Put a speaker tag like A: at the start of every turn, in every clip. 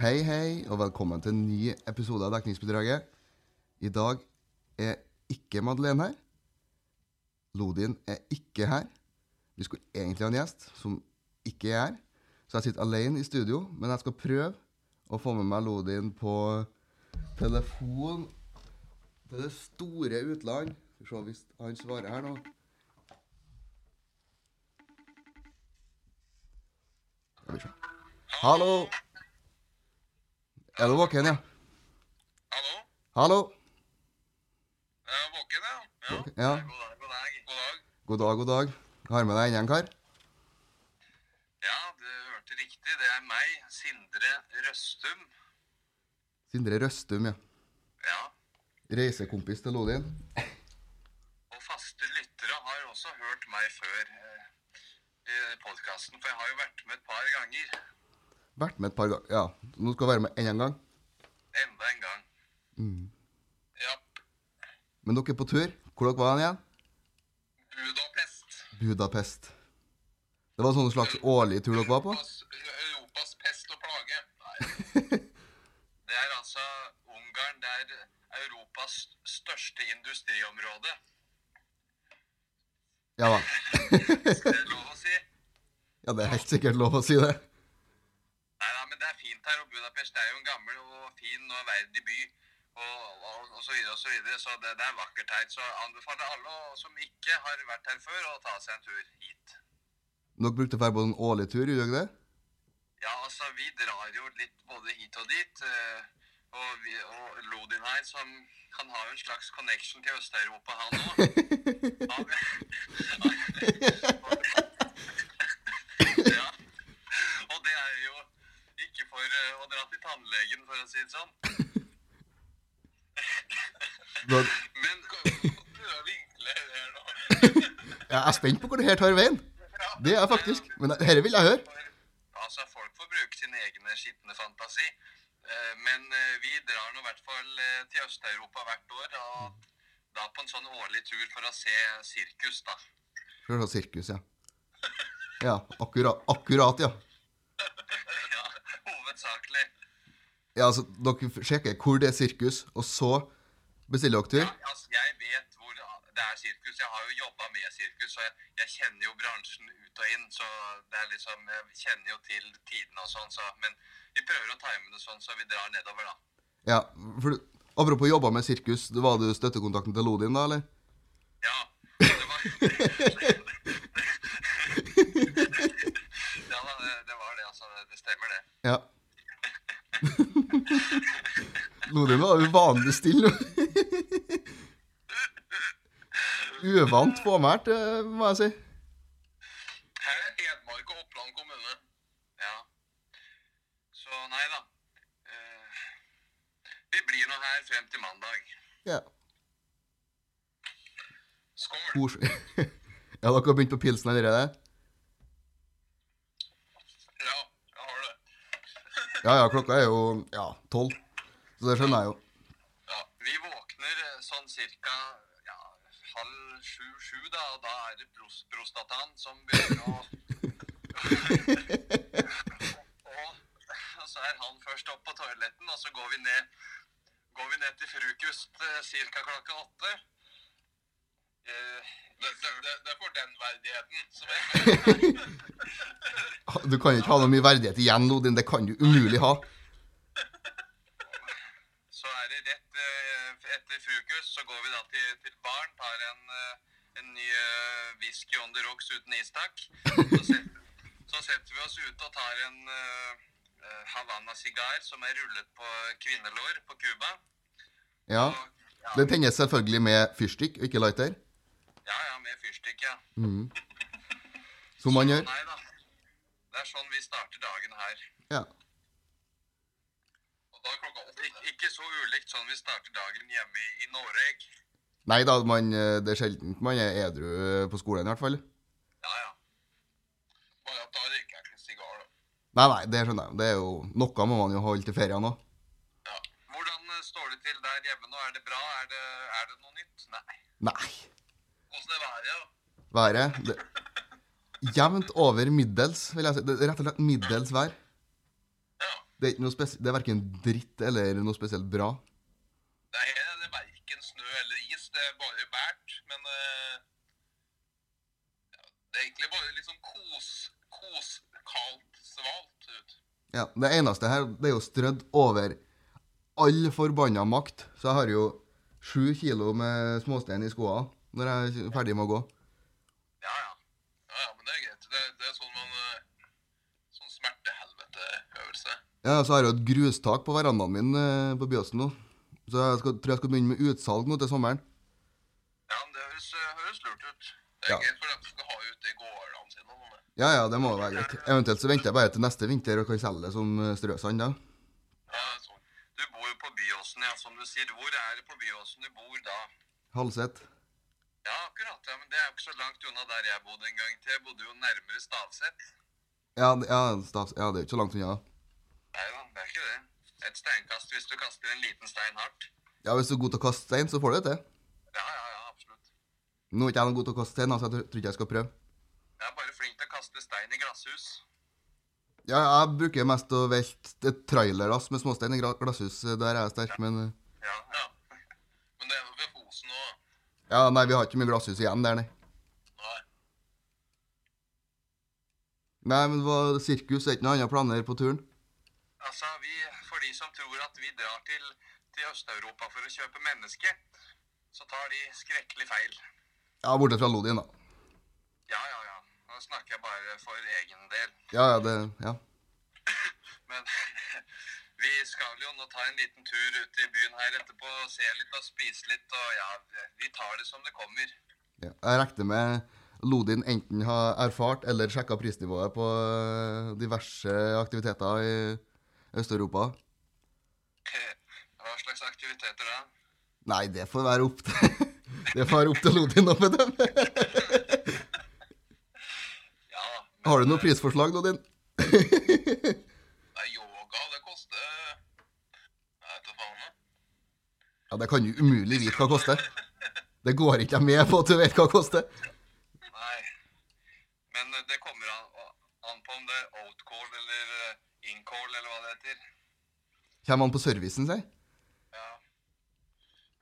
A: Hei, hei, og velkommen til en ny episode av Dekningsbidraget. I dag er ikke Madeleine her. Lodin er ikke her. Vi skulle egentlig ha en gjest som ikke er her. Så jeg sitter alene i studio, men jeg skal prøve å få med meg Lodin på telefon til det store utland. Skal vi se hvis han svarer her nå. Skal vi se. Hallo! Er du våken, ja?
B: Hallo?
A: Hallo!
B: Jeg er våken, ja. ja.
A: Ja. God
B: God dag, god dag. God dag.
A: dag, god dag. Har med deg enda en kar?
B: Ja, du hørte riktig. Det er meg, Sindre Røstum.
A: Sindre Røstum, ja.
B: Ja.
A: Reisekompis til Lodin.
B: Og faste lyttere har også hørt meg før eh, i podkasten, for jeg har jo vært med et par ganger.
A: Vært med et par ganger. Ja, nå skal jeg være med enda en gang.
B: Enda en gang.
A: Mm.
B: Ja.
A: Men dere er på tur. Hvor dere var dere igjen?
B: Budapest.
A: Budapest. Det var sånn slags årlig tur dere var på?
B: Europas, Europas pest og plage. Nei. Det er altså Ungarn. Det er Europas største industriområde.
A: Ja da.
B: Det er lov å si.
A: Ja, det er helt sikkert lov å si det.
B: Nei, nei, men det er fint her, og Budapest er jo en gammel og fin og verdig by, og, og, og så videre og så videre, så det, det er vakkert her. Så jeg anbefaler alle å- som ikke har vært her før, å ta seg en tur hit.
A: Dere brukte å være på en årlig tur, gjorde dere det?
B: Ja, altså, vi drar jo litt både hit og dit, eh, og, vi, og Lodin her, som han har jo en slags connection til Øst-Europa, han òg. ja. Og det er jo ikke for eh, å dra til tannlegen, for å si det sånn.
A: Dere...
B: Men prøv å vinkle her nå.
A: Ja, jeg er spent på hvor det her tar veien. Det er jeg faktisk. Men dette vil jeg høre.
B: Altså, folk får bruke sin egne skitne fantasi. Eh, Men eh, vi drar nå i hvert fall eh, til Øst-Europa hvert år. Og da på en sånn årlig tur for å se sirkus, da.
A: Skal vi se sirkus, ja. Ja, akkurat, akkurat ja.
B: Ja, hovedsakelig.
A: Ja, altså, dere sjekker hvor det er sirkus, og så bestiller dere tur?
B: Altså, jeg vet hvor det er sirkus. Jeg har jo jobba med sirkus, så jeg, jeg kjenner jo bransjen ut og inn. Så det er liksom Jeg kjenner jo til tidene og sånn, så Men vi prøver å time det sånn, så vi drar nedover, da.
A: Ja, for du- Apropos jobba med sirkus, var du støttekontakten til Lodin da, eller?
B: Ja. Det var Ja da, det, det var det, altså. Det stemmer, det.
A: Ja. Lodin var uvanlig stille. Uvant påmælt, eh, må jeg si.
B: Her er Edmark og Oppland kommune. Ja. Så nei da. Eh, vi blir nå her frem til mandag.
A: Ja.
B: Skål!
A: Kos- Ja, dere har begynt på pilsen allerede?
B: Ja, jeg har det.
A: Ja ja, klokka er jo ja, tolv. Så det skjønner jeg jo.
B: Ja, vi våkner eh, sånn cirka ja, halv sju-sju, da, og da er det pros prostatan som begynner å og, og så er han først opp på toaletten, og så går vi ned, går vi ned til frokost eh, cirka klokka åtte. Eh, det, er for den verdigheten som jeg
A: Du kan ikke ha noe mye verdighet igjen, Lodin. Det kan du umulig ha.
B: Så er det rett eh, etter frokost, så går vi da til, til baren, tar en, eh, en ny eh, whisky on the rocks uten istakk. Så setter, så setter vi oss ute og tar en eh, eh, Havanna-sigar som er rullet på kvinnelår på Cuba.
A: Ja. Det tennes selvfølgelig med fyrstikk, og ikke lighter. Mm.
B: Ja, ja, med fyrstikk, ja.
A: Som man gjør.
B: Nei da. Det er sånn vi starter dagen her.
A: Ja.
B: Ik ikke så ulikt sånn vi starter dagen hjemme i, i Norge.
A: Nei da, man, eh, det er sjelden man er edru eh, på skolen, i hvert fall.
B: Ja, ja. Bare at da røyker jeg ikke sigar, da.
A: Nei, nei, det skjønner jeg. Det er jo, noe må man jo holde til ferien òg.
B: Ja. Hvordan eh, står det til der hjemme nå? Er det bra? Er det, er det noe nytt? Nei.
A: Nei.
B: Åssen er været, da?
A: Været det, Jevnt over middels, vil jeg si. Det er rett og slett middels vær.
B: Ja.
A: Det er, ikke noe spes- det er verken dritt eller noe spesielt bra.
B: Det er, det er verken snø eller is, det er bare bært. Men eh, ja, det er egentlig bare litt sånn kos, kos kaldt, svalt ut.
A: Ja, Det eneste her det er jo strødd over all forbanna makt. Så jeg har jo sju kilo med småstein i skoa når jeg er ferdig med å gå.
B: Ja, ja. Ja, ja, men det er greit. Det, det er sånn man eh, Sånn smertehelveteøvelse.
A: Ja, Så har jeg jo et grustak på verandaen min eh, på Byåsen nå. Så jeg skal, tror jeg skal begynne med utsalg nå til sommeren.
B: Ja, men det høres, eh, høres lurt ut. Det er
A: Ja.
B: greit for dem som skal ha ut i gårdene sine. og sånne.
A: Ja, ja, det må jo være greit. Eventuelt så venter jeg bare til neste vinter og kan selge det som eh, strøsand, da.
B: Ja, sånn. Du bor jo på Byåsen, ja, som du sier. Hvor er det på Byåsen du bor da?
A: Halvsett.
B: Ja, akkurat. ja, Men det er jo ikke så langt unna der jeg bodde en gang til. Jeg bodde jo nærmere Stavsett.
A: Ja, det- ja, stas, ja, det er jo ikke så langt unna.
B: Nei da, det er ikke det. Et steinkast hvis du kaster en liten stein hardt.
A: Ja, Hvis du er god til å kaste stein, så får du det til.
B: Ja, ja, ja, absolutt.
A: Nå er ikke jeg noe god til å kaste stein, da, så jeg tror ikke jeg skal prøve.
B: Jeg er bare flink til å kaste stein i glasshus.
A: Ja, jeg bruker mest å velte et trailerlass med småstein i gra- glasshus. eh, Der er jeg sterk, men eh,
B: Ja. ja. Men det er jo ved Fosen òg.
A: Ja, nei, vi har ikke mye glasshus igjen der, nei.
B: Nei.
A: Nei, men hva, sirkus er ikke noen andre planer på turen?
B: Altså, vi, for de som tror at vi drar til, til Øst-Europa for å kjøpe menneske, så tar de skrekkelig feil.
A: Ja, bortsett fra Lodin, da.
B: Ja, ja, ja. Nå snakker jeg bare for egen del.
A: Ja, ja, det Ja.
B: Men vi skal jo nå ta en liten tur ut i byen her etterpå og se litt og spise litt. Og ja, vi tar det som det kommer.
A: ja. Jeg regner med Lodin enten har erfart eller sjekka prisnivået på eh, diverse aktiviteter i Øst-Europa.
B: Hva slags aktiviteter da?
A: Nei, det får være opp til Det får være opp til Lodin å bedømme.
B: Ja, men
A: Har du noe prisforslag, Lodin?
B: det er yoga, det koster Jeg vet da faen. jeg.
A: Ja, det kan du umulig vite hva koster. Det går ikke jeg med på at du vet hva koster.
B: Nei. Men eh, det kommer an, an på om det er outcall eller eh, incall eller hva det heter.
A: Kommer han på servicen, sier
B: Ja.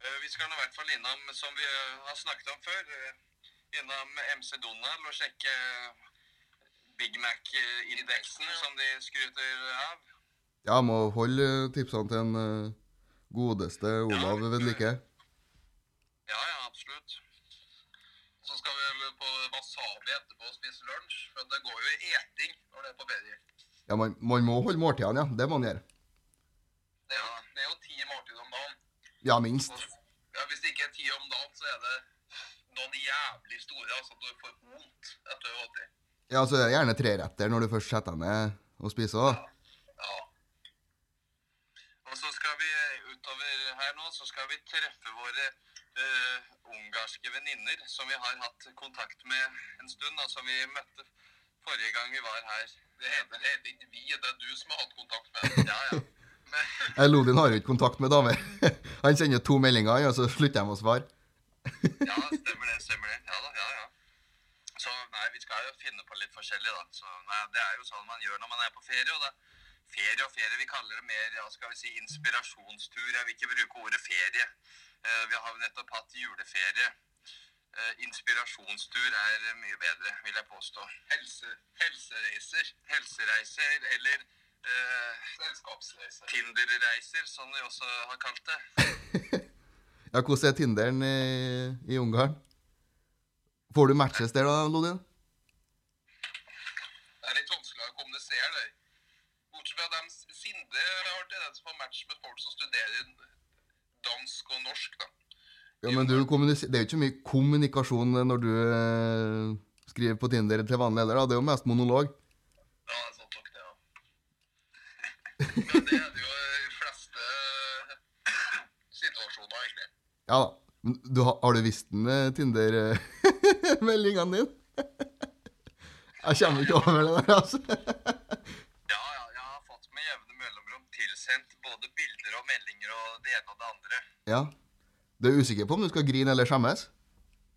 B: Eh, Vi skal nå i hvert fall innom, som vi eh, har snakket om før, eh, innom MC Donald og sjekke eh, Big Mac-indeksen som de skryter av.
A: Ja, må holde eh, tipsene til en eh, godeste Olav ved like.
B: Ja, ja, absolutt. Så skal vi vel på Wasabi etterpå og spise lunsj, for det går jo i eting når det er på ferie.
A: Ja, man, man må holde måltidene, ja. Det må man gjøre.
B: Det er jo, det er jo ti måltider om dagen.
A: Ja, minst.
B: Og- Ja, hvis det ikke er ti om dagen, så er det noen jævlig store, altså at du får vondt etter å ha åttet.
A: Ja, så er det gjerne treretter når du først setter deg ned og spiser òg.
B: Ja. Og så skal vi utover her nå, så skal vi treffe våre eh, ungarske venninner som vi har hatt kontakt med en stund, og som vi møtte forrige gang vi var her. Det heter, det heter ikke vi, det er du som har hatt kontakt med dem. Ja, ja. Men,
A: Eh, Lodin har jo ikke kontakt med damer. Han sender to meldinger, ja, så slutter de å svare.
B: ja, stemmer det, stemmer det. Ja da, ja, ja. Så nei, vi skal jo finne på litt forskjellig da. Så nei, det er jo sånn man gjør når man er på ferie, og da ferie og ferie, vi kaller det mer, ja, skal vi si inspirasjonstur. Jeg vil ikke bruke ordet ferie. Eh, vi har jo nettopp hatt juleferie. Eh, inspirasjonstur er eh, mye bedre, vil jeg påstå. Helse, helsereiser. Helsereiser eller eh, Selskapsreiser. Tinder-reiser, som vi også har kalt det.
A: Ja, hvordan er Tinderen i, i Ungarn? Får du matches der, da, Lodin?
B: Det er litt vanskelig å kommunisere det. Bortsett fra dem Sinde har tendens på match med folk som studerer dansk og norsk, da.
A: Ja, men du kommuniser- Det er jo ikke så mye kommunikasjon når du eh, skriver på Tinder til vanlig heller. da. Det er jo mest monolog.
B: Ja, det er sant nok, det, ja. Men det er det jo i fleste situasjoner, egentlig.
A: Ja da. Men du, har- har du visst den eh, Tinder-meldingen din? Jeg kommer ikke over det der, altså.
B: Ja, ja, jeg har fått med jevne mellomrom tilsendt både bilder og meldinger og det ene og det andre.
A: Ja. Du er usikker på om du skal grine eller skjemmes?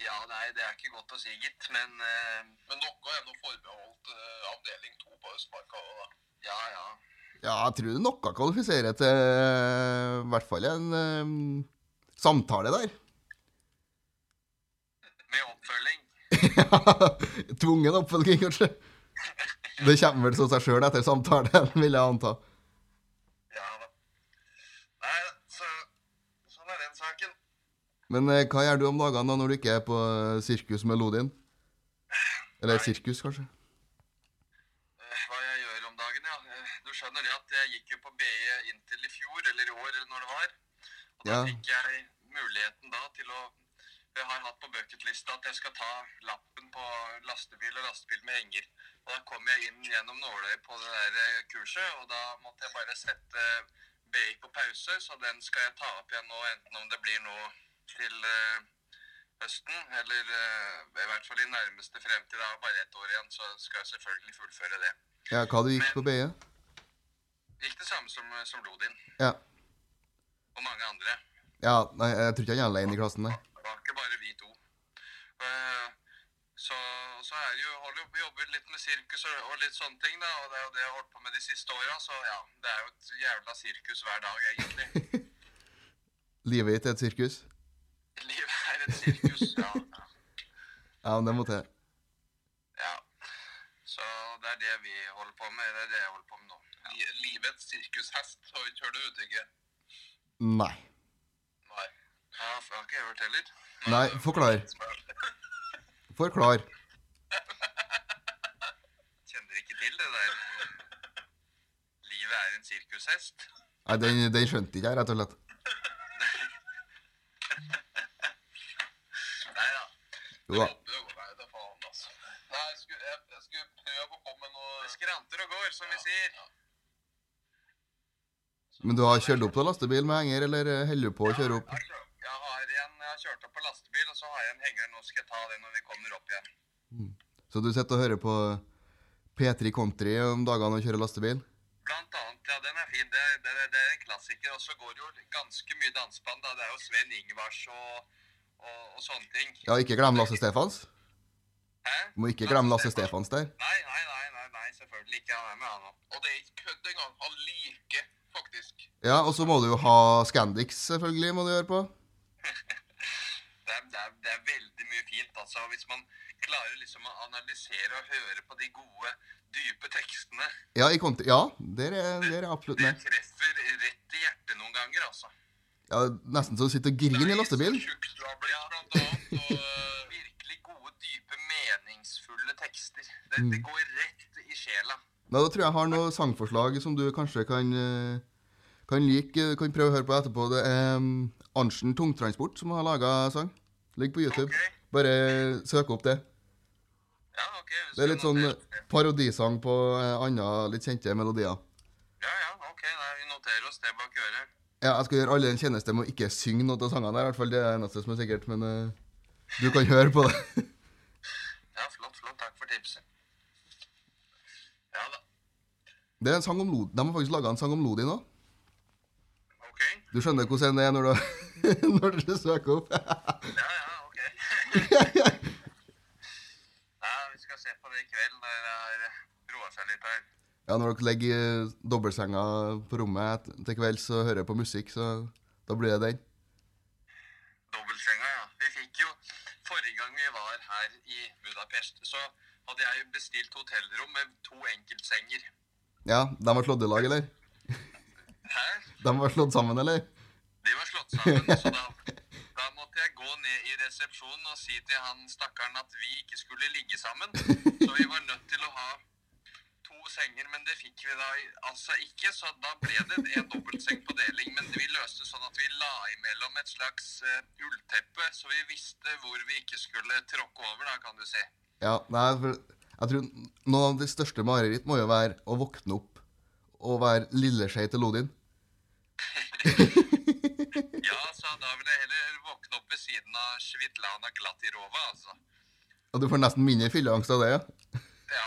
B: Ja, nei, det er ikke godt å si, gitt, men eh, Men noe er nå forbeholdt avdeling to på Østmarka òg, da. Ja, ja.
A: Ja, jeg tror det noe kvalifiserer til eh, i hvert fall en eh, samtale der.
B: med oppfølging.
A: Tvungen oppfølging, kanskje. Det kommer vel så seg sjøl etter samtalen, vil jeg anta.
B: Ja da. Nei, så, sånn er den saken.
A: Men eh, hva gjør du om dagene da når du ikke er på eh, sirkus med Lodin? Eller sirkus, kanskje?
B: Eh, Hva jeg gjør om dagen, ja. Eh, Du skjønner det at jeg gikk jo på BE inntil i fjor, eller i år, eller når det var. Og da
A: Ja.
B: fikk jeg muligheten da til å Jeg har hatt på bucketlista at jeg skal ta lappen på lastebil og lastebil med henger. Og da kom jeg inn gjennom nåløyet på det der eh, kurset, og da måtte jeg bare sette BI på pause, så den skal jeg ta opp igjen nå, enten om det blir nå til eh, høsten, eller eh, i hvert fall i nærmeste fremtid. Det er bare ett år igjen, så skal jeg selvfølgelig fullføre det.
A: Ja, hva du gikk på E? BE?
B: Gikk det samme som, eh, som Lodin
A: Ja.
B: og mange andre.
A: ja. Nei, jeg tror ikke han er alene i klassen, nei.
B: Det var ikke bare vi to. Eh, Så, så er det jo, holder jo jobber litt med sirkus og, og litt sånne ting, da. Og det er jo det jeg har holdt på med de siste åra, så ja. Det er jo et jævla sirkus hver dag, egentlig.
A: Livet ditt er et sirkus.
B: Livet er et sirkus, ja.
A: Ja, men det må til.
B: ja. Så det er det vi holder på med. Det er det jeg holder på med nå. Livets sirkushest, har vi ikke hørt det uttrykket?
A: Nei.
B: Nei. Ja, for jeg har ikke hørt heller.
A: Nei, forklar. Forklar.
B: Kjenner ikke til det der. Livet er en sirkushest.
A: Nei, den, den skjønte ikke jeg, rett og slett.
B: Nei da.
A: Jo da.
B: altså. Nei, jeg skulle, jeg, jeg skulle prøve å komme med noe Det skranter og går, som vi sier.
A: Men du har kjørt opp til lastebil med henger, eller eh, holder du på å kjøre opp?
B: Jeg kjø- Jeg har, en, jeg har kjørt opp på lastebil, og så har jeg en henger. Nå skal jeg ta den når vi kommer opp igjen.
A: Så du sitter og hører på P3 Country om dagene og kjører lastebil?
B: Blant annet, ja, den er fin. Det, er- det, er- det er en klassiker. Og så går det jo ganske mye danseband. da. Det er jo Sven Ingvars og, og, og sånne ting.
A: Ja, ikke glem Lasse Stefans.
B: Hæ?
A: Du må ikke glemme Lasse Stefans der.
B: Nei, nei, nei, nei, nei, selvfølgelig ikke. Han er med, han òg. Og det er ikke kødd engang. Han liker faktisk
A: Ja, og så må du jo ha Scandix, selvfølgelig, må du gjøre på.
B: det er, det, er, det er veldig mye fint. altså. Hvis man klarer liksom å analysere og høre på de gode, dype tekstene
A: Ja, i country. Ja, der er, der er jeg absolutt
B: Det
A: med.
B: treffer rett i hjertet noen ganger, altså.
A: Ja, Nesten så du sitter og griner i lastebilen.
B: Ja, blant annet. Og øh, virkelig gode, dype, meningsfulle tekster. Det,
A: Mm.
B: det går rett i sjela.
A: Nei, Da tror jeg jeg har noen sangforslag som du kanskje kan, eh, kan like. eh, Kan prøve å høre på etterpå. Det er mm, Arntzen Tungtransport som har laga sang. Ligger på YouTube.
B: Ok.
A: Bare søk opp det.
B: Ja, ok. vi
A: Det
B: skal
A: er litt sånn
B: notere
A: eh,
B: det.
A: parodisang på eh, andre litt kjente melodier.
B: Ja, ja, ok. Nei, vi noterer oss det bak øret.
A: Ja, jeg skal gjøre alle en tjeneste med å ikke synge noen av sangene der. I hvert fall det er det eneste som er sikkert, men eh, du kan høre på det.
B: Ja, flott, flott. Takk for tipset. Ja da.
A: Det er en sang om Lod De har faktisk laga en sang om Lodin òg.
B: Ok.
A: Du skjønner hvordan det er når du, når du søker opp.
B: Ja, ja, ok. ja, vi skal se på det i kveld når det har roa seg litt her.
A: Ja, når dere ligger i dobbeltsenga på rommet et- til kvelds og hører på musikk, så da blir det den.
B: Dobbeltsenga, ja. Vi fikk jo Forrige gang vi var her i Budapest, så hadde jeg jo bestilt hotellrom med to enkeltsenger.
A: Ja, de har slått i lag, eller?
B: Hæ?
A: De har slått sammen, eller?
B: De var slått sammen, så da, da måtte jeg gå ned i resepsjonen og si til han stakkaren at vi ikke skulle ligge sammen. Så vi var nødt til å ha to senger, men det fikk vi da i- altså ikke. Så da ble det en dobbeltseng på deling, men vi løste sånn at vi la imellom et slags eh, ullteppe, så vi visste hvor vi ikke skulle tråkke over, da, kan du si.
A: Ja, nei, for jeg tror noen av de største mareritt må jo være å våkne opp og være lilleskje til Lodin.
B: Ja, sa han, da vil jeg heller våkne opp ved siden av Svitlana Glatirova, altså.
A: Og du får nesten mindre fylleangst av det, ja.
B: Ja.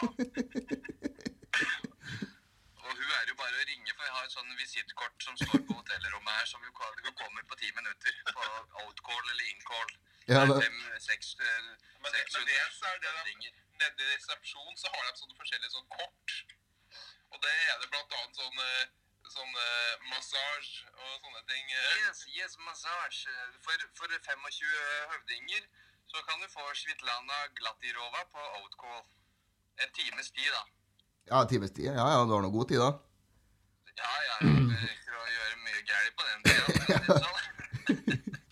B: Og hun er jo bare å ringe, for jeg har et sånn visittkort som står på hotellrommet her, som jo kan- jo kommer på ti minutter på outcall eller incall.
A: Ja,
B: Det er
A: det-
B: fem, seks, eh,
C: Men det- men
B: 600
C: det så er det da-
B: ringer.
C: Nede i resepsjon så har de sånne forskjellige sånn kort.
B: Og det er det blant annet sånn, eh, sånn eh, massasje og sånne ting. eh.
C: Yes, yes, massage.
B: For, for 25 høvdinger så kan du få Svitlana Glatirova på outcall. En times tid, da.
A: Ja, times tid. Ja, ja, du har nå god tid, da.
B: Ja, ja, ja. Det rekker å gjøre mye gærent på den tida. for å si det sånn.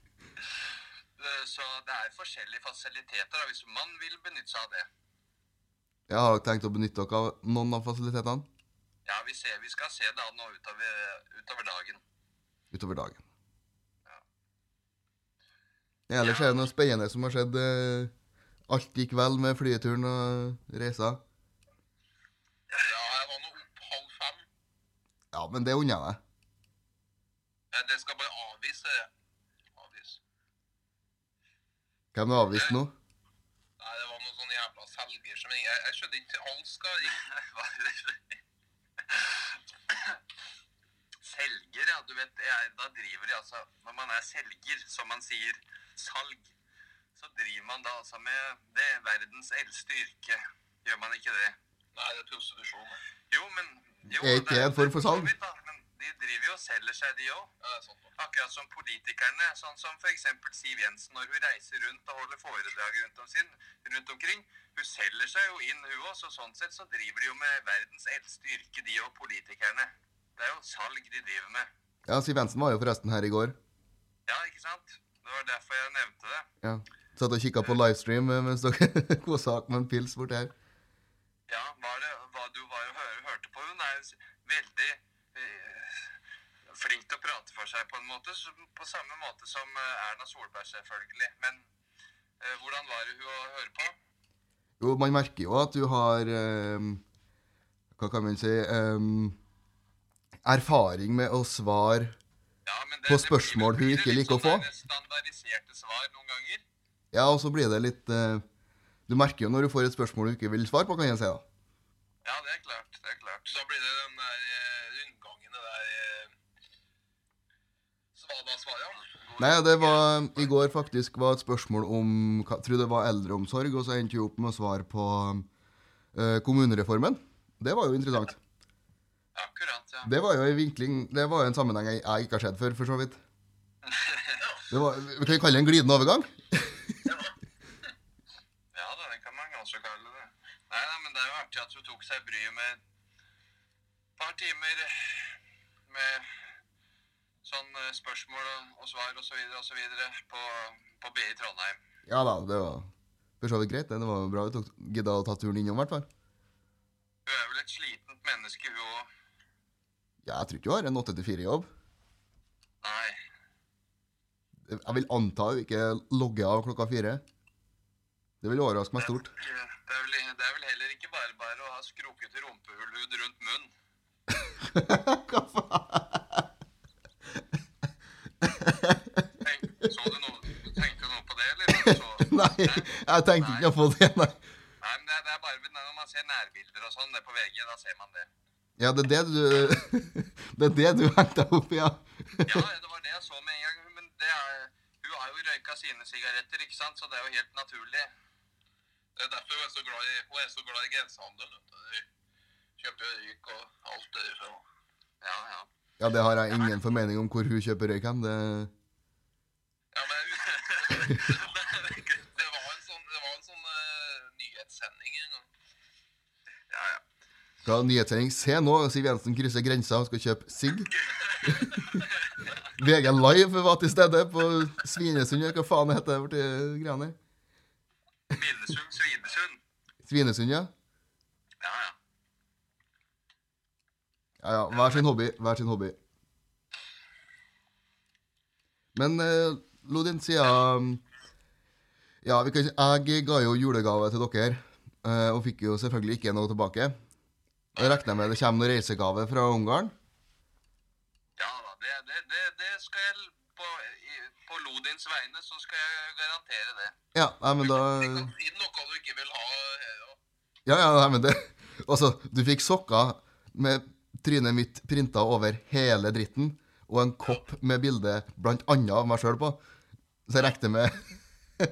B: Eh, Så det er forskjellige fasiliteter da, hvis man vil benytte seg av det.
A: Jeg har dere tenkt å benytte dere av noen av fasilitetene
B: Ja, vi, ser, vi skal se det an nå utover, utover dagen.
A: utover dagen. Ellers er det noe spennende som har skjedd. eh, Alt gikk vel med flyturen og reisa.
B: Ja, jeg var nå opp halv fem.
A: Ja, men det unner jeg deg.
B: Eh, Det skal bare avvise. Avvise.
A: Hvem er avvist nå?
B: Nei, det var noen sånne jævla selger som jeg, jeg skjønte ikke alls hva jeg Selger, ja. Du vet, jeg, da driver de altså Når man er selger, som man sier, salg, så driver man da altså med det verdens eldste yrke. Gjør man ikke det? Nei, det er prostitusjon. Jo, men jo,
A: Er ikke det en form for salg?
B: vidt, da, Men de driver jo og selger seg, de òg. Akkurat som politikerne. Sånn som f.eks. Siv Jensen når hun reiser rundt og holder foredrag rundt, om sin, rundt omkring. Hun selger seg jo inn, hun òg. Så sånn sett så driver de jo med verdens eldste yrke, de òg, politikerne. Det er jo salg de driver med.
A: Ja, Siv Jensen var jo forresten her i går.
B: Ja, ikke sant? Det var derfor jeg nevnte det.
A: Ja. Satt og kikka på livestream eh, mens dere kosa dere med en pils borti her.
B: Ja, var det, var, du var jo hør, hørte på hun er jo s- veldig eh, flink til å prate for seg på en måte, som- på samme måte som eh, Erna Solberg selvfølgelig. Men eh, hvordan var det hun å høre på?
A: Jo, man merker jo at du har ehm, Hva kan man si ehm, Erfaring med å svare
B: Ja, men
A: På spørsmål hun ikke
B: litt
A: liker å
B: sånn
A: få?
B: der Standardiserte svar noen ganger.
A: Ja, og så blir det litt eh, Du merker jo når du får et spørsmål du ikke vil svare på, kan jeg si. da.
B: Ja, det er klart, det er klart. Da blir det den der eh, rundgangen, det der eh, Svalbard-svaret,
A: Nei, det var I går faktisk var et spørsmål om hva- Tror det var eldreomsorg, og så endte vi opp med å svare på eh, kommunereformen. Det var jo interessant.
B: Akkurat, ja.
A: Det var jo en vinkling Det var jo en sammenheng jeg, jeg ikke har sett før, for så vidt. Det var, vi kan jo kalle det en glidende overgang.
B: Ja da, det kan man kanskje kalle det. Nei, nei, men det er jo artig at du tok seg bryet med et par timer med sånn eh, spørsmål og, og svar og så videre og så videre på, på BI Trondheim.
A: Ja da, det var for så vidt greit. Det Det var bra vi tok- gidda å ta turen innom, i hvert fall.
B: Hun er vel et slitent menneske, hun òg.
A: Ja, jeg tror ikke hun har en 8-4-jobb.
B: Nei.
A: Jeg vil anta hun ikke logger av klokka fire. Det vil overraske meg stort.
B: Det er, vel, det er vel heller ikke bare bare å ha skrukket rumpehullhud rundt munnen.
A: Hva faen?
B: Tenk, så du noe, tenkte du noe på det, eller? Så,
A: Nei, jeg tenkte ikke på det, nei.
B: nei, men det er, det er bare når man ser nærbilder og sånn det på VG, da ser man det.
A: Ja, det er det du Det er det du hengte deg opp i, ja.
B: Ja, det var det jeg så med en gang. Men det er, hun har jo røyka sine sigaretter, ikke sant? så det er jo helt naturlig. Det er derfor hun er så glad i, hun er så glad i grensehandel. vet du. Hun kjøper jo røyk og alt det der. Ja, ja.
A: Ja, det har jeg ingen formening om hvor hun kjøper røyk hen. Det
B: Ja, men Det var en sånn, det var en sånn eh, nyhetssending en gang. Ja, ja.
A: Fra nyhetssending Se nå, Siv Jensen krysser grensa og skal kjøpe sigg. VG Live var til stede på Svinesund, eller hva faen det heter borti greiene der.
B: Minnesund, Svinesund.
A: Svinesund, ja.
B: Ja, ja.
A: Ja, ja. Hver sin hobby. Hver sin hobby. Men eh, Lodin, siden Ja, vi kan, jeg ga jo julegave til dere, eh, og fikk jo selvfølgelig ikke noe tilbake. Jeg regner med det kommer noen reisegave fra Ungarn.
B: Ja da, det, det, det, det skal jeg på, i, på Lodins vegne så skal jeg garantere det.
A: Ja, nei, men da
B: Du kan si noe du ikke vil ha. eh, og-
A: Ja, ja, nei, men det Altså, du fikk sokker med trynet mitt printa over hele dritten, og en kopp med bilde blant annet av meg sjøl på. Så jeg regner med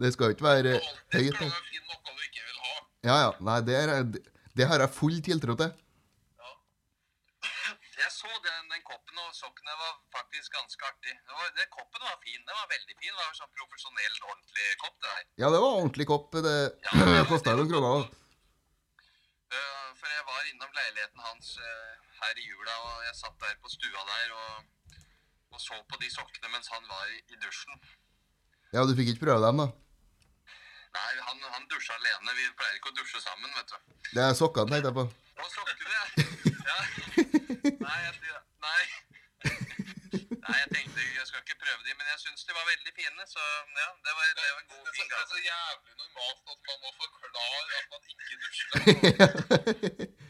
A: Det skal jo ikke være
B: Det
A: høyt.
B: skal
A: Eh, da.
B: du finne noe du ikke vil ha.
A: Ja, ja. Nei, det, er, det har jeg full tiltro til.
B: Ja, jeg så den, den koppen, og sokkene var faktisk ganske artig. Det var, det, koppen var fin. Den var veldig fin. Det var jo sånn profesjonell, ordentlig kopp, det der.
A: Ja, det var ordentlig kopp. Det
B: Ja, det var-
A: kosta noen kroner.
B: Eh, for jeg var innom leiligheten hans eh, her i jula, og jeg satt der på stua der og, og så på de sokkene mens han var i, i dusjen.
A: Ja, du fikk ikke prøve dem, da.
B: Nei, han, han dusja alene. Vi pleier ikke å dusje sammen, vet du.
A: Det er sokkene, tenkte jeg på.
B: Og sokkene ja. Nei, jeg, nei. nei, jeg tenkte jeg skal ikke prøve de, men jeg syns de var veldig fine. Så ja, det var, det var en god,
C: Det
B: fin
C: er
B: gave.
C: så jævlig normalt at man må forklare at man ikke dusjer.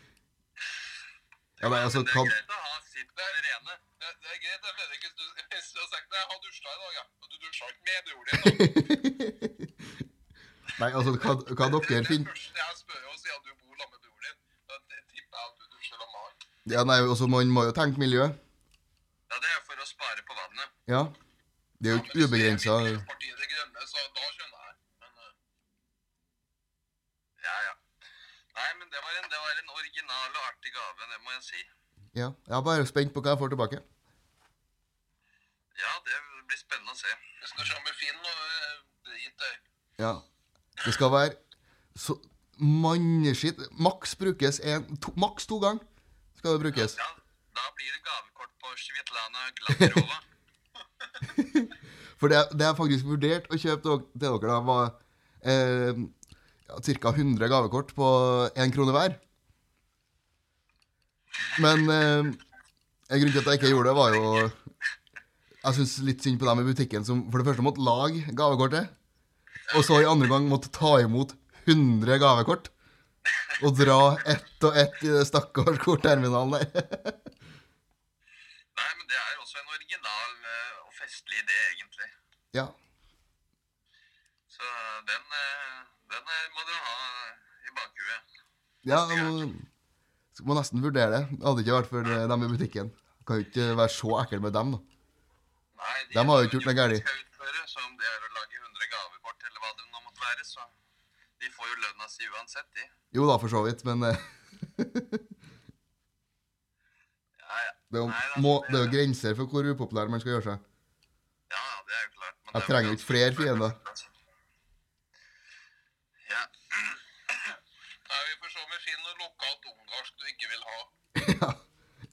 A: Ja, nei, altså,
B: Men det
A: kan...
B: er greit å ha sitt på det rene.
C: Det, det er greit, jeg mener ikke at du hvis du har sagt nei, jeg har dusja i dag, ja. Og du dusja ikke med, du gjorde det. da.
A: Nei, altså, kan, kan
C: Det er
A: dere
C: det
A: finne
C: første jeg spør om siden du bor sammen med broren din. Da tipper jeg at du dusjer sammen med han.
A: Ja, nei, altså, man må jo tenke miljø.
B: Ja, det er for å spare på vannet.
A: Ja. Det er jo ikke ubegrensa
C: Ja, men hvis det er Miljøpartiet De Grønne, så da skjønner jeg. Men eh,
B: Ja, ja. Nei, men det var en, det var en original og artig gave, det må jeg si.
A: Ja, jeg er bare spent på hva jeg får tilbake.
B: Ja, det blir spennende å se.
C: hvis du ser med Finn og eh, drit der
A: Ja. Det skal være så manneskitt. Maks brukes en, to, maks to ganger. Skal det brukes.
B: Ja, da blir det gavekort på Svitlana Gladrova.
A: For det, det jeg faktisk vurderte å kjøpe til dere- til dere, da, var eh, ja, ca. 100 gavekort på én krone hver. Men eh, en grunn til at jeg ikke gjorde det, var jo Jeg syns litt synd på dem i butikken som for det første måtte lage gavekortet, og så i andre gang måtte ta imot 100 gavekort. Og dra ett og ett i det stakkars kortterminalen der.
B: Nei, men det er også en original eh, og festlig idé, egentlig.
A: Ja.
B: Så den, eh, den eh, må dere ha i bakhuet.
A: Ja, må, må nesten vurdere det. Det hadde ikke vært for eh, dem i butikken. Kan jo ikke være så ekkel med dem, da.
B: Nei,
A: Dem har jo ikke gjort noe gærlig.
B: skal utføre, så om det er å lage 100 gavekort eller hva det nå måtte være, så de får jo lønna si uansett, de.
A: Jo da, for så vidt, men eh,
B: Ja, ja.
A: det er jo,
B: Nei, da,
A: må,
B: det-
A: det er jo grenser for hvor upopulær man skal gjøre seg.
B: Ja, ja, det er jo klart. men
A: Jeg
B: det er
A: trenger
B: jo
A: ikke flere fiender.
B: Ja.
C: Nei, vi får se med Finn noe lokalt ungarsk du ikke vil ha.
A: ja,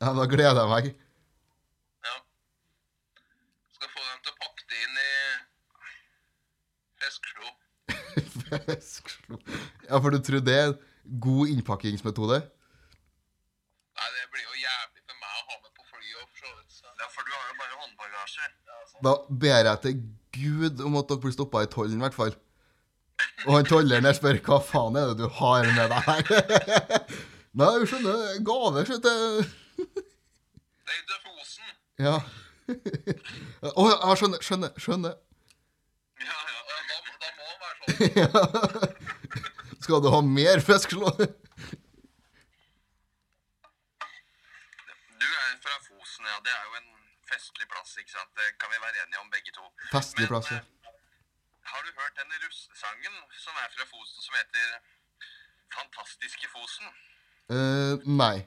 A: Ja, da gleder jeg meg.
C: Ja. Skal få dem til å pakke det inn i fiskeslo.
A: ja, for du tror det er en god innpakkingsmetode?
C: Nei, det blir jo jævlig for meg å ha med på flyet og for så vidt. Så.
B: ja, for du har jo bare håndbagasje.
A: Da ber jeg til Gud om at dere blir stoppa i tollen, i hvert fall. Og han tolleren der spør hva faen er det du har med deg her? Nei, du skjønner, gave, skjønner du.
C: Det er Døfosen.
A: Ja. Å ja, skjønner, skjønner, skjønner.
B: Ja, ja.
C: Ja, da, må- da må det være sånn.
A: Skal du ha mer fisk, slå?
B: Du er fra Fosen, ja. Det er jo en festlig plass, ikke sant? Det kan vi være enige om, begge to.
A: Festlig plass, ja.
B: eh, har du hørt denne russesangen som er fra Fosen, som heter Fantastiske Fosen?
A: Eh, nei.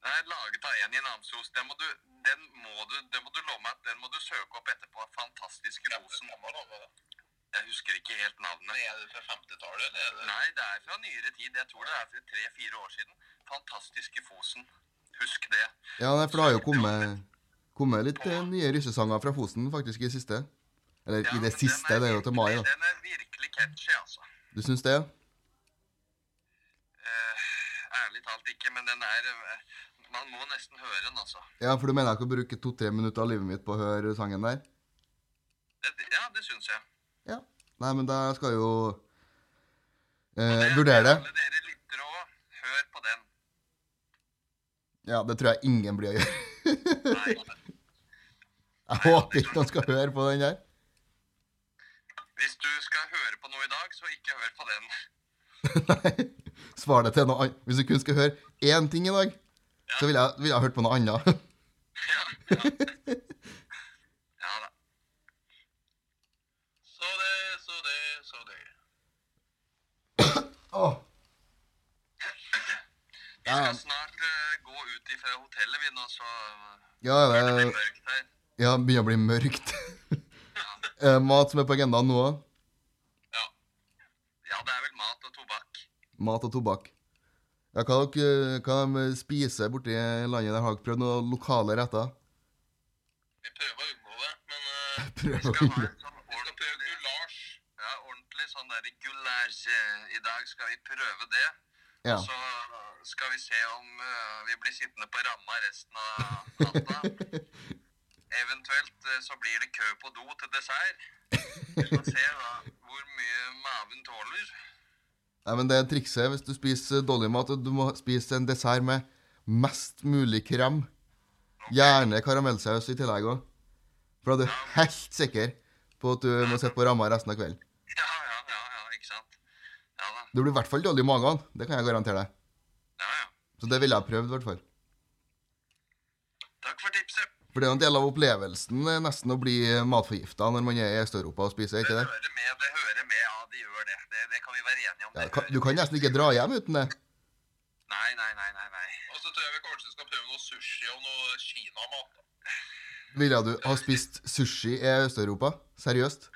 B: Den er laget av en i Namsos. Den må du, den må du, den må du love meg at den må du søke opp etterpå. Fantastiske Fosen. Jeg husker ikke helt navnet.
C: Er det fra 50-tallet, eller er det
B: Nei, det er fra nyere tid. Jeg tror det er fra tre-fire år siden. Fantastiske Fosen. Husk det.
A: Ja, nei, for det har jo kommet, kommet litt eh, nye russesanger fra Fosen, faktisk, i det siste. Eller i
B: Ja,
A: det
B: men den
A: siste, det er jo til mai,
B: virkelig-
A: da.
B: Den er virkelig catchy, altså.
A: Du syns det? ja?
B: Eh, ærlig talt ikke, men den er eh, Man må nesten høre den, altså.
A: Ja, for du mener jeg kan bruke to-tre minutter av livet mitt på å høre sangen der?
B: Det, ja, det syns jeg.
A: Ja. Nei, men da skal jeg jo eh,
B: Det-
A: vurdere det.
B: Alle dere lyttere òg, hør på den.
A: Ja, det tror jeg ingen blir å gjøre.
B: Nei, altså.
A: Jeg håper ikke noen skal høre på den der.
B: hvis du skal høre på noe i dag, så ikke hør på den.
A: Nei. Svar det til noe annet. Hvis du kun skal høre én ting i dag, så ville jeg, ville jeg hørt på noe annet.
B: Ja, ja. ja da.
C: Så det, så det, så det.
A: Åh.
B: Vi
A: Ja,
B: skal snart eh, gå ut i fra hotellet, vi nå, så
A: Ja,
B: det
A: det
B: blir mørkt her.
A: ja, det begynner å bli mørkt. Eh, Mat som er på agendaen nå òg.
B: Ja. ja, det er vel mat og tobakk.
A: Mat og tobakk. Ja, hva dere eh, hva de spiser borti landet der? Har dere prøvd noen lokale retter?
C: Vi prøver å unngå det, men eh,
A: Prøv å
B: Skal ha
A: unngå.
B: en sånn
C: vi skal prøve
B: ordentlig,
C: gulasj.
B: ja, ordentlig sånn der gulasje. I dag skal vi prøve det.
A: Ja.
B: Så skal vi se om eh, vi blir sittende på ramma resten av natta. Eventuelt eh, så blir det kø på do til dessert. Vi får se da, hvor mye maven tåler.
A: Nei, men det er trikset hvis du spiser dårlig mat, og du må spise en dessert med mest mulig krem. Gjerne karamellsaus i tillegg òg. For da er du helt sikker på at du må sitte på ramma resten av kvelden.
B: Ja, ja, ja, ja, ikke sant? Ja da.
A: Du blir i hvert fall dårlig i magen. Det kan jeg garantere deg.
B: Ja, ja.
A: Så det ville jeg prøvd, i hvert fall.
B: Takk for tipset.
A: For det er jo en del av opplevelsen eh, nesten å bli matforgifta når man er i Øst-Europa og spiser, er
B: Det
A: ikke det?
B: hører med, det hører med. Ja, de gjør det. Det, det kan vi være enige om.
A: Ja,
B: Det
A: ka- du
B: hører
A: kan
B: med.
A: nesten ikke dra hjem uten det.
B: Nei, nei, nei, nei, nei.
C: Og så tror jeg vi kanskje skal prøve noe sushi og noe kinamat. da.
A: Ville du ha spist sushi i Øst-Europa? Seriøst?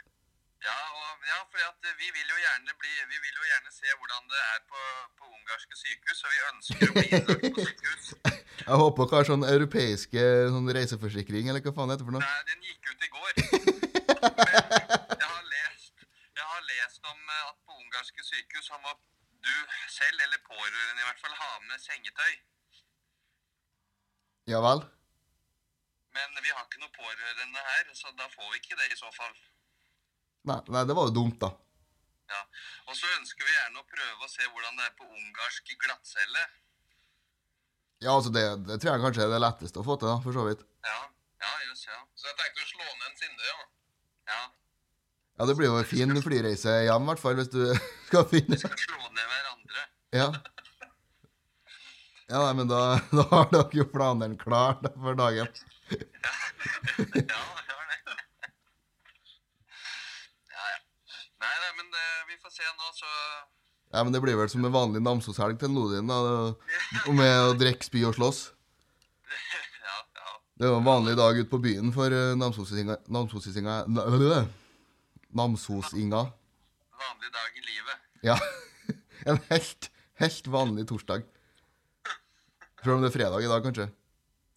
B: Ja, og, ja for at eh, vi, vil jo gjerne bli, vi vil jo gjerne se hvordan det er på, på ungarske sykehus, og vi ønsker å bli innlagt på sykehus.
A: Jeg håper dere har sånn europeiske sånn reiseforsikring, eller hva faen det heter for noe.
B: Nei, den gikk ut i går. Men jeg har lest, jeg har lest om eh, at på ungarske sykehus så må du selv, eller pårørende i hvert fall, ha med sengetøy.
A: Ja vel?
B: Men vi har ikke noe pårørende her, så da får vi ikke det i så fall.
A: Nei, nei, det var jo dumt, da.
B: Ja. Og så ønsker vi gjerne å prøve å se hvordan det er på ungarsk glattcelle.
A: Ja, altså, det, det tror jeg kanskje er det letteste å få til, da, for så vidt.
B: Ja, ja, jøss, ja.
C: Så jeg tenkte å slå ned en Sindre, ja.
B: ja.
A: Ja, det blir jo en fin flyreise hjem, i hvert fall, hvis du skal finne
B: Vi skal slå ned hverandre.
A: Ja. Ja, nei, men da, da har dere jo planene klar da, for dagen.
B: Ja, det var det. Ja, ja. Nei, nei, men eh, vi får se nå, så
A: Ja, men det blir vel som en vanlig Namsos-helg til Lodin, da. Og med å drikke, spy og slåss.
B: Ja, ja.
A: Det var en vanlig dag ute på byen for eh, Namsos-isinga Namsos-isinga Nø- Namsos-inga.
B: Vanlig dag i livet.
A: Ja. En helt, helt vanlig torsdag. Selv om det er fredag i dag, kanskje.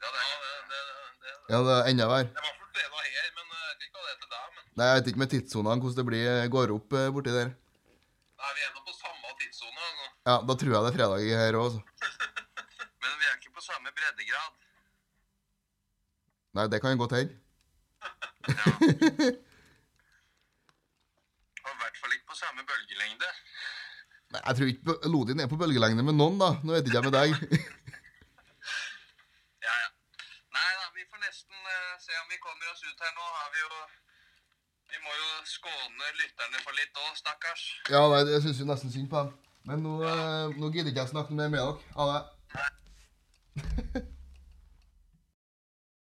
B: Ja, det
C: Ja,
B: er
C: det, det, det, det.
A: Ja, det er enda verre.
C: det var for fredag her, men eh, jeg vet ikke hva det er til deg. Men
A: Nei, Jeg vet ikke med tidssonene hvordan det blir, går opp eh, borti der.
C: Nei, vi er nå på samme tidssone. Altså.
A: Ja, Da tror jeg det er fredag her altså. òg.
B: Men vi er ikke på samme breddegrad.
A: Nei, det kan godt hende.
B: Ja. Og i hvert fall ikke på samme bølgelengde.
A: Nei, Jeg tror ikke bø- Lodin er på bølgelengde med noen, da. Nå vet ikke jeg med deg.
B: Ja, ja. Nei da, vi får nesten eh, se om vi kommer oss ut her nå. Har vi jo Vi må jo skåne lytterne for litt òg, stakkars.
A: Ja, nei, Jeg syns jo nesten synd på dem. Men nå, eh, nå gidder ikke jeg snakke mer med dere. Ha det.
B: Nei,